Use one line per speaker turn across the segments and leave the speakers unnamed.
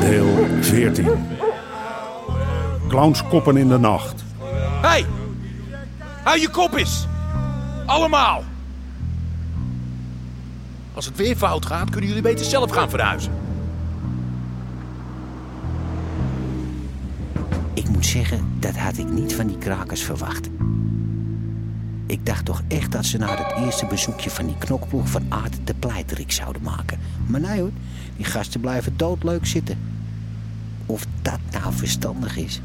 Deel 14. Clownskoppen in de nacht.
Hey! Hou je kop eens! Allemaal! Als het weer fout gaat, kunnen jullie beter zelf gaan verhuizen.
Ik moet zeggen, dat had ik niet van die krakers verwacht. Ik dacht toch echt dat ze na het eerste bezoekje van die knokploeg van Aard de pleiterik zouden maken. Maar nee hoor, die gasten blijven doodleuk zitten. Of dat nou verstandig is.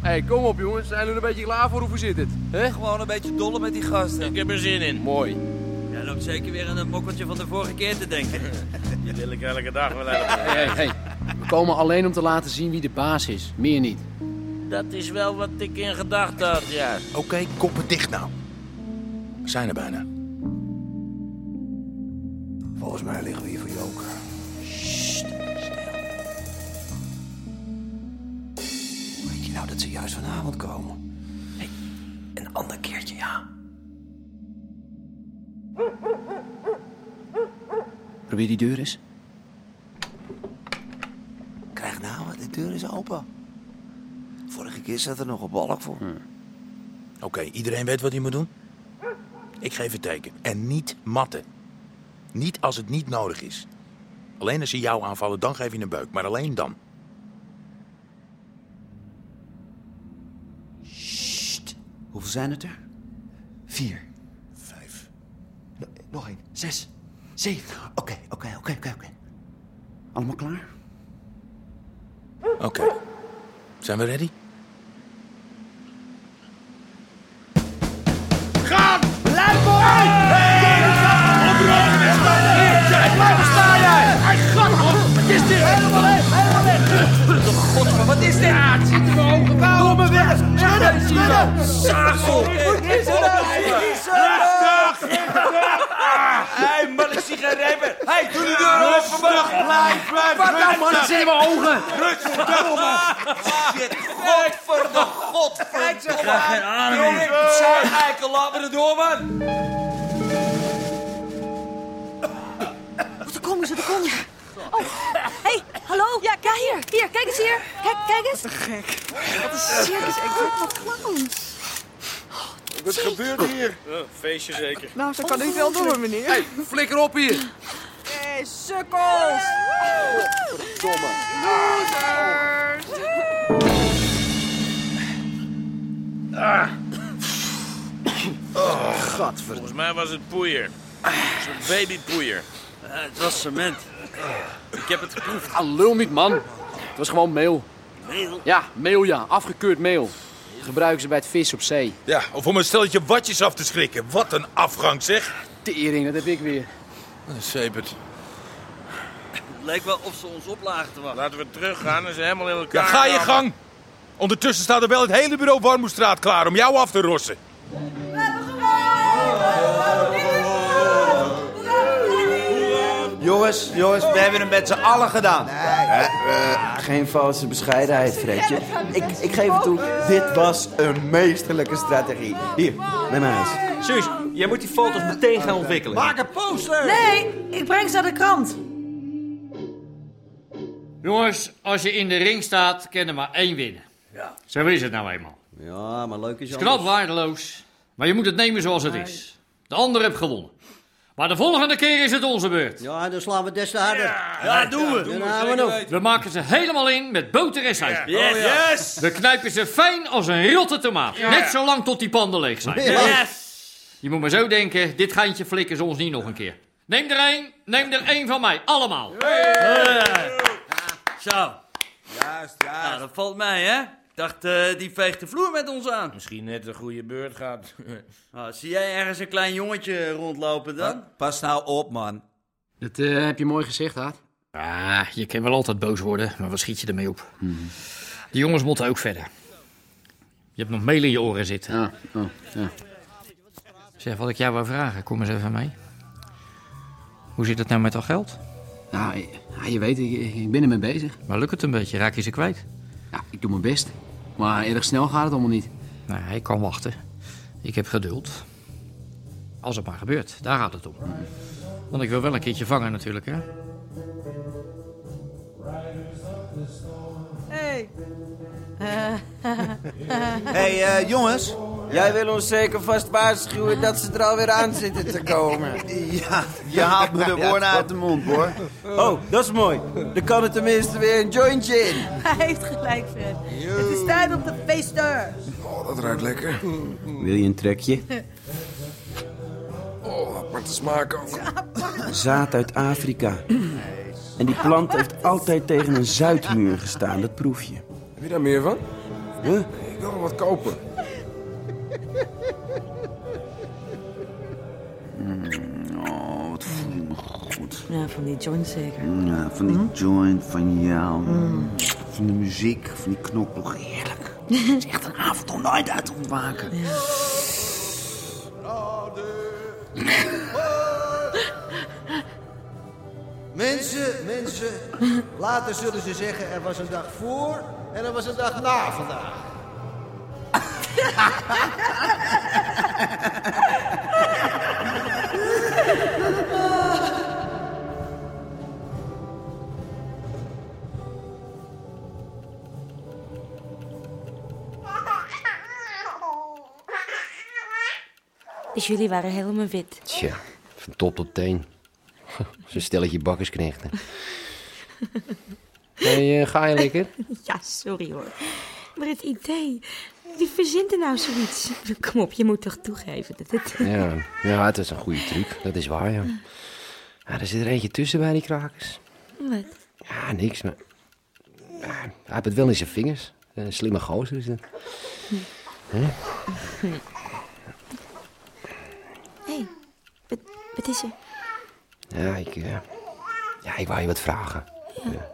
hey, kom op jongens. Zijn jullie er een beetje klaar voor? Hoe zit het? Hè?
Gewoon een beetje dolle met die gasten.
Ik heb er zin in.
Mooi.
Jij loopt zeker weer aan dat mokkeltje van de vorige keer te denken.
Dat wil ik elke dag wel helpen.
Hey, hey. We komen alleen om te laten zien wie de baas is. Meer niet.
Dat is wel wat ik in gedachten had, ja.
Oké, koppen dicht nou. We zijn er bijna.
Volgens mij liggen we hier voor joker. Hoe Weet je nou dat ze juist vanavond komen?
Een ander keertje, ja.
Probeer die deur eens.
Krijg nou, wat, de deur is open. Vorige keer zat er nog een balk voor.
Hmm.
Oké, iedereen weet wat hij moet doen? Ik geef het teken. En niet matten. Niet als het niet nodig is. Alleen als ze jou aanvallen, dan geef je een beuk. Maar alleen dan.
Sst. Hoeveel zijn het er? Vier.
Vijf.
N- Nog één. Zes. Zeven. Oké, oké, oké, oké, oké. Allemaal klaar?
Oké. Zijn we ready?
Godver, wat is dit? Ja, het zit in mijn ogen wel. Domme weg! Schudden, schudden! Zagel! Wat is er nou? Hé, hey, man, ik zie geen rijpen. Hé, hey, doe de deur open, man. Blijf, blijf, Wat nou, man, ik zie in mijn ogen. Rustig, Godverdomme, godverdomme. Kijk ze maar geen adem. Jongen, zijn eikel, laat me erdoor, man.
Daar komen ze, daar komen ze. Oh, hey, hallo. Ja, kijk hier. Hier, kijk eens hier. Kijk, kijk eens. Wat een gek. Wat een circus. Ik word wat clowns.
Feestje zeker.
Nou, zo kan ik wel door, meneer.
Flikker op hier.
Hey, sukkels!
Volgens mij was het poeier. Zo'n baby poeier.
Het was cement. Ik heb het geproefd.
Ah, lul niet, man. Het was gewoon meel. Ja, meel ja. Afgekeurd meel. Dat gebruiken ze bij het vis op zee.
Ja, of om een stelletje watjes af te schrikken. Wat een afgang, zeg.
Tering, dat heb ik weer.
Zeepert.
Leek wel of ze ons oplagen te wachten.
Laten we teruggaan, dat is helemaal in elkaar.
Ja, ga je
rammen.
gang. Ondertussen staat er wel het hele bureau Warmoestraat klaar om jou af te rossen.
Jongens, jongens.
We hebben hem met z'n allen gedaan.
eh, Geen valse bescheidenheid, Fredje. Ik, ik geef het toe, dit was een meesterlijke strategie. Hier, neem maar eens.
Suus, jij moet die foto's meteen gaan ontwikkelen. Maak een poster!
Nee, ik breng ze aan de krant.
Jongens, als je in de ring staat, kan er maar één winnen. Zo is het nou eenmaal.
Ja, maar leuk is
Het is knap waardeloos, maar je moet het nemen zoals het is. De ander heeft gewonnen. Maar de volgende keer is het onze beurt.
Ja, dan slaan we des te harder.
Ja, doen we.
We maken ze helemaal in met boter en suiker.
Yes! yes.
We knijpen ze fijn als een rotte tomaat. Net zo lang tot die panden leeg zijn. Je moet maar zo denken, dit geintje flikken ze ons niet nog een keer. Neem er één, neem er één van mij. Allemaal.
Zo. Juist, juist. Nou, dat valt mij, hè?
dacht, eh, die veegt de vloer met ons aan.
Misschien net een goede beurt gaat.
Ah, zie jij ergens een klein jongetje rondlopen dan?
Pas nou op, man.
Dat eh, heb je mooi gezegd, Haat.
Ah, je kan wel altijd boos worden, maar wat schiet je ermee op?
Hmm.
Die jongens moeten ook verder. Je hebt nog meel in je oren zitten.
Ja, oh, ja.
Zeg, wat ik jou wou vragen, kom eens even mee. Hoe zit het nou met al geld?
Nou, je, je weet, ik, ik ben ermee bezig.
Maar lukt het een beetje? Raak je ze kwijt?
Ja, ik doe mijn best. Maar erg snel gaat het allemaal niet.
Nou, hij kan wachten. Ik heb geduld. Als het maar gebeurt, daar gaat het om. Want ik wil wel een keertje vangen natuurlijk, hè?
Hey.
Hé, hey, eh, jongens. Jij wil ons zeker vast waarschuwen dat ze er alweer aan zitten te komen. Ja,
je haalt me de woorden uit de
mond, hoor. Oh, dat is mooi. Dan kan er tenminste weer een jointje in.
Hij heeft gelijk, Fred. Het is tijd om te feesten.
Oh, dat ruikt lekker.
Wil je een trekje?
Oh, aparte smaak ook.
Zaad uit Afrika. En die plant heeft altijd tegen een zuidmuur gestaan, dat proef je.
Heb je daar meer van?
Huh?
Ik wil wel wat kopen.
Oh, wat voel me goed.
Ja, van die joint zeker.
Ja, van die joint, van jou, van de muziek, van die knokploeg. Heerlijk. Het is echt een avond om nooit uit te ontwaken.
Mensen, mensen, later zullen ze zeggen er was een dag voor en er was een dag na vandaag.
Dus jullie waren helemaal wit.
Tja, van top tot teen. Zo'n stelletje bakkersknechten. hey, eh, ga je lekker?
Ja, sorry hoor. Maar het idee, wie verzint er nou zoiets? Kom op, je moet toch toegeven dat het...
Ja, ja, het is een goede truc. Dat is waar, ja. ja er zit er eentje tussen bij die krakers.
Wat?
Ja, niks, maar... Ja, hij heeft het wel in zijn vingers. Eh, Een slimme gozer is dat. Hè?
Hé, hey, wat, wat is er?
Ja, ik... eh, ja, ik wou je wat vragen. Ja.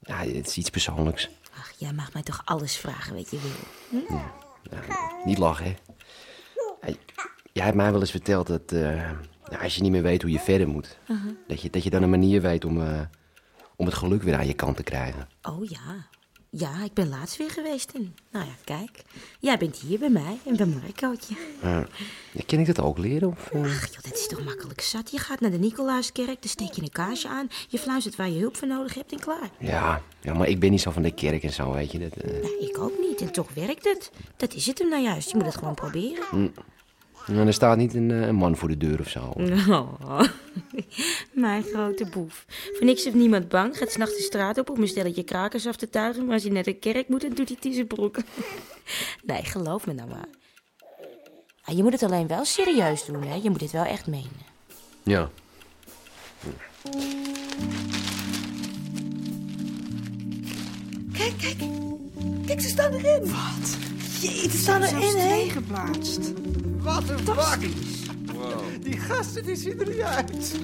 Ja, het is iets persoonlijks.
Ach, jij mag mij toch alles vragen wat je wil. Hm?
Hmm. Niet lachen, hè? Hey, Jij hebt mij wel eens verteld dat eh, nou, als je niet meer weet hoe je verder moet,
Aha.
dat, je, dat je dan een manier weet om, eh, om het geluk weer aan je kant te krijgen.
Oh ja. Ja, ik ben laatst weer geweest. En, nou ja, kijk. Jij bent hier bij mij en bij Marcootje.
Ja. kan ik dat ook leren? Of, eh?
Ach joh, dat is toch makkelijk zat. Je gaat naar de Nicolaaskerk, daar steek je een kaarsje aan. Je fluistert waar je hulp voor nodig hebt en klaar.
ja, ja, maar ik ben niet zo van de kerk en zo, weet je. Dat, eh,
Ik ook niet en toch werkt het. Dat is het hem nou juist. Je moet het gewoon proberen.
mm. Nou, er staat niet een, eh, een man voor de deur of zo.
Oh, mijn grote boef. Voor niks heeft niemand bang. Gaat s'nachts de straat op om een stelletje krakers af te tuigen. Maar als hij naar de kerk moet, dan doet hij het in zijn broek. Nee, geloof me nou maar. Ah, Je moet het alleen wel serieus doen, hè. Je moet het wel echt menen.
Ja.
Kijk, kijk. Kijk, ze staan erin. Wat? Jeetje, ze staan erin, hè? geplaatst. Wat een bakkies. Die gasten, die zien er niet uit.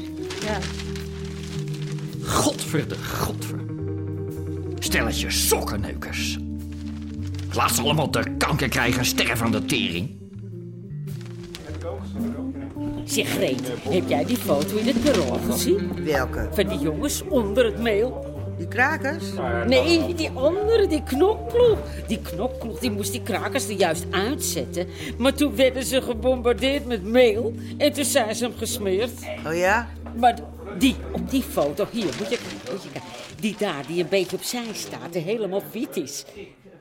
Ja.
Godver de godver. Stelletje sokkenneukers. Laat ze allemaal de kanker krijgen, sterren van de tering.
Zeg Greet, heb jij die foto in het bureau gezien? Welke? Van die jongens onder het meel. Die krakers? Nee, die andere, die knokploeg. Die knokploeg die moest die krakers er juist uitzetten. Maar toen werden ze gebombardeerd met meel en toen zijn ze hem gesmeerd. Oh ja? Maar die, op die foto, hier, moet je kijken, moet je kijken. Die daar, die een beetje opzij staat en helemaal wit is.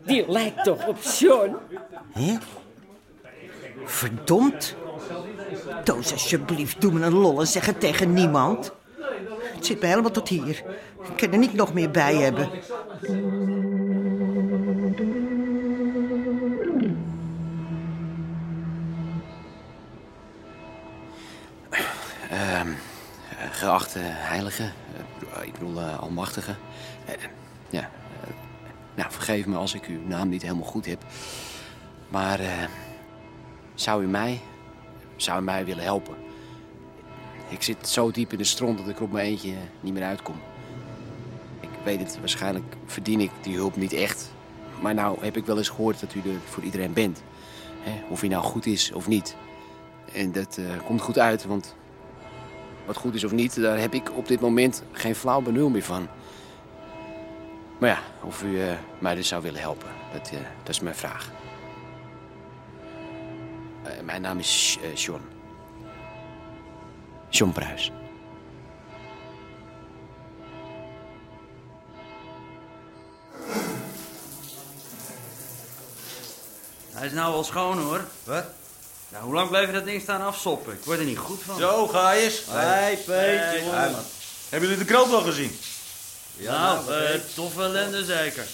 Die lijkt toch op John?
Hè? Verdomd. Toos, alsjeblieft, doe me een lol en zeg het tegen niemand. Het zit me helemaal tot hier. Ik kan er niet nog meer bij hebben.
Ehm, eh, geachte heilige, eh, ik bedoel eh, almachtige. Eh, ja, eh,
eh, Nou, vergeef me als ik uw naam niet helemaal goed heb. Maar eh, zou u mij, zou u mij willen helpen? Ik zit zo diep in de stront dat ik er op mijn eentje eh, niet meer uitkom. Ik weet het, waarschijnlijk verdien ik die hulp niet echt. Maar nou heb ik wel eens gehoord dat u er voor iedereen bent. Hè, of hij nou goed is of niet. En dat eh, komt goed uit, want wat goed is of niet, daar heb ik op dit moment geen flauw benul meer van. Maar ja, of u eh, mij dus zou willen helpen, dat, eh, dat is mijn vraag. Eh, mijn naam is eh, John. John Bruis.
Hij is nou wel schoon hoor. Wat? Nou, hoe lang blijf je dat ding staan afsoppen? Ik word er niet goed van.
Zo, ga eens.
Hey, Peet, jongen.
Hey, man. Hebben jullie de krant al gezien?
nou, eh, toffe ellende zeker.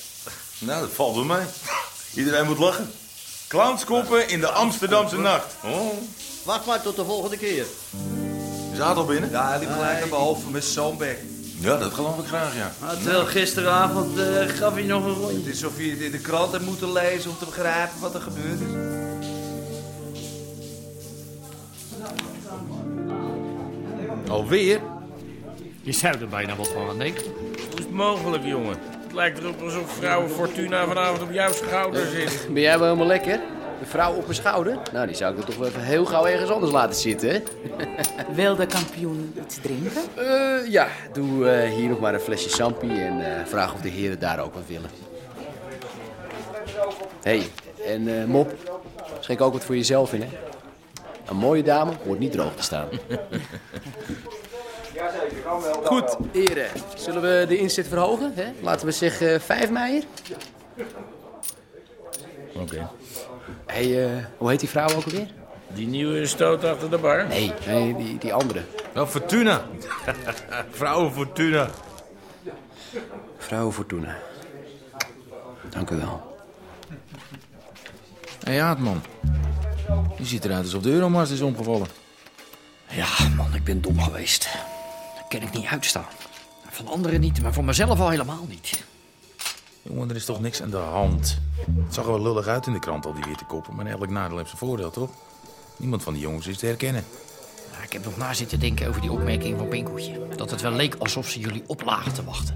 Nou, dat valt wel mee. Iedereen moet lachen. Clownskoppen in de Amsterdamse nacht. Oh.
Wacht maar tot de volgende keer.
Is Aad al binnen?
Ja, hij liep gelijk naar
boven met zo'n bek. Ja, dat geloof ik graag, ja.
Nou, terwijl gisteravond eh, gaf hij nog een rondje.
Het is of je het in de krant hebt moeten lezen om te begrijpen wat er gebeurd is.
Alweer? Je zou er bijna wat van aan denken.
Hoe is het mogelijk, jongen? Het lijkt erop alsof vrouwen Fortuna vanavond op jouw schouder zit.
Ben jij wel helemaal lekker? De vrouw op mijn schouder? Nou, die zou ik dan toch wel even heel gauw ergens anders laten zitten, hè?
Wil de kampioen iets drinken?
Eh, ja, doe eh, hier nog maar een flesje sampie en eh, vraag of de heren daar ook wat willen. Hé, hey, en eh, Mop, schenk ook wat voor jezelf in, hè? Een mooie dame hoort niet droog te staan. Goed, heren. Zullen we de inzet verhogen? Hè? Laten we zeggen 5 meijer.
Oké.
Hé, eh, hoe heet die vrouw ook alweer?
Die nieuwe stoot achter de bar?
Nee, nee die, die andere.
Wel, Nou, Fortuna. Vrouwen Fortuna.
Vrouwen Fortuna. Dank u wel.
Hé, Aad, man. Je ziet eruit alsof de Euromast is omgevallen.
Ja, man, ik ben dom geweest. Dat kan ik niet uitstaan. Van anderen niet, maar voor mezelf al helemaal niet.
Jongen, er is toch niks aan de hand. Het zag er wel lullig uit in de krant, al die witte koppen. Maar elk nadeel heeft zijn voordeel, toch? Niemand van die jongens is te herkennen.
Maar ik heb nog na zitten denken over die opmerking van Pinkeltje. Dat het wel leek alsof ze jullie op lagen te wachten.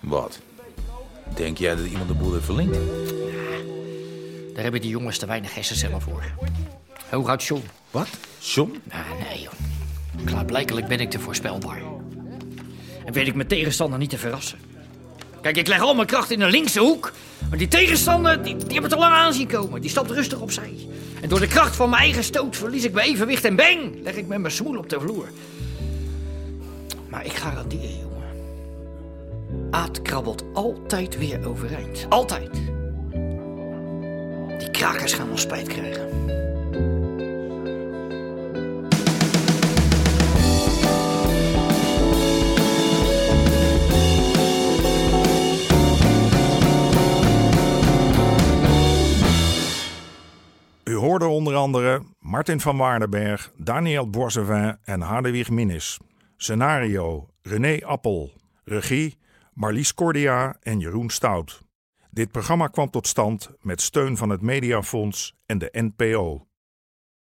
Wat? Denk jij dat iemand de boel heeft verlinkt?
Daar hebben die jongens te weinig hersencellen voor. Hooguit John.
Wat? John?
Ah, nee, joh. Klaarblijkelijk ben ik te voorspelbaar. En weet ik mijn tegenstander niet te verrassen. Kijk, ik leg al mijn kracht in de linkse hoek. Maar die tegenstander, die, die hebben het al lang aanzien komen. Die stapt rustig opzij. En door de kracht van mijn eigen stoot verlies ik mijn evenwicht en bang! Leg ik met mijn smoel op de vloer. Maar ik garandeer je, jongen. Aad krabbelt altijd weer overeind. Altijd. Die krakers gaan wel spijt krijgen.
U hoorde onder andere Martin van Waardenberg, Daniel Boisevin en Hadewig Minnis. Scenario René Appel. Regie Marlies Cordia en Jeroen Stout. Dit programma kwam tot stand met steun van het Mediafonds en de NPO.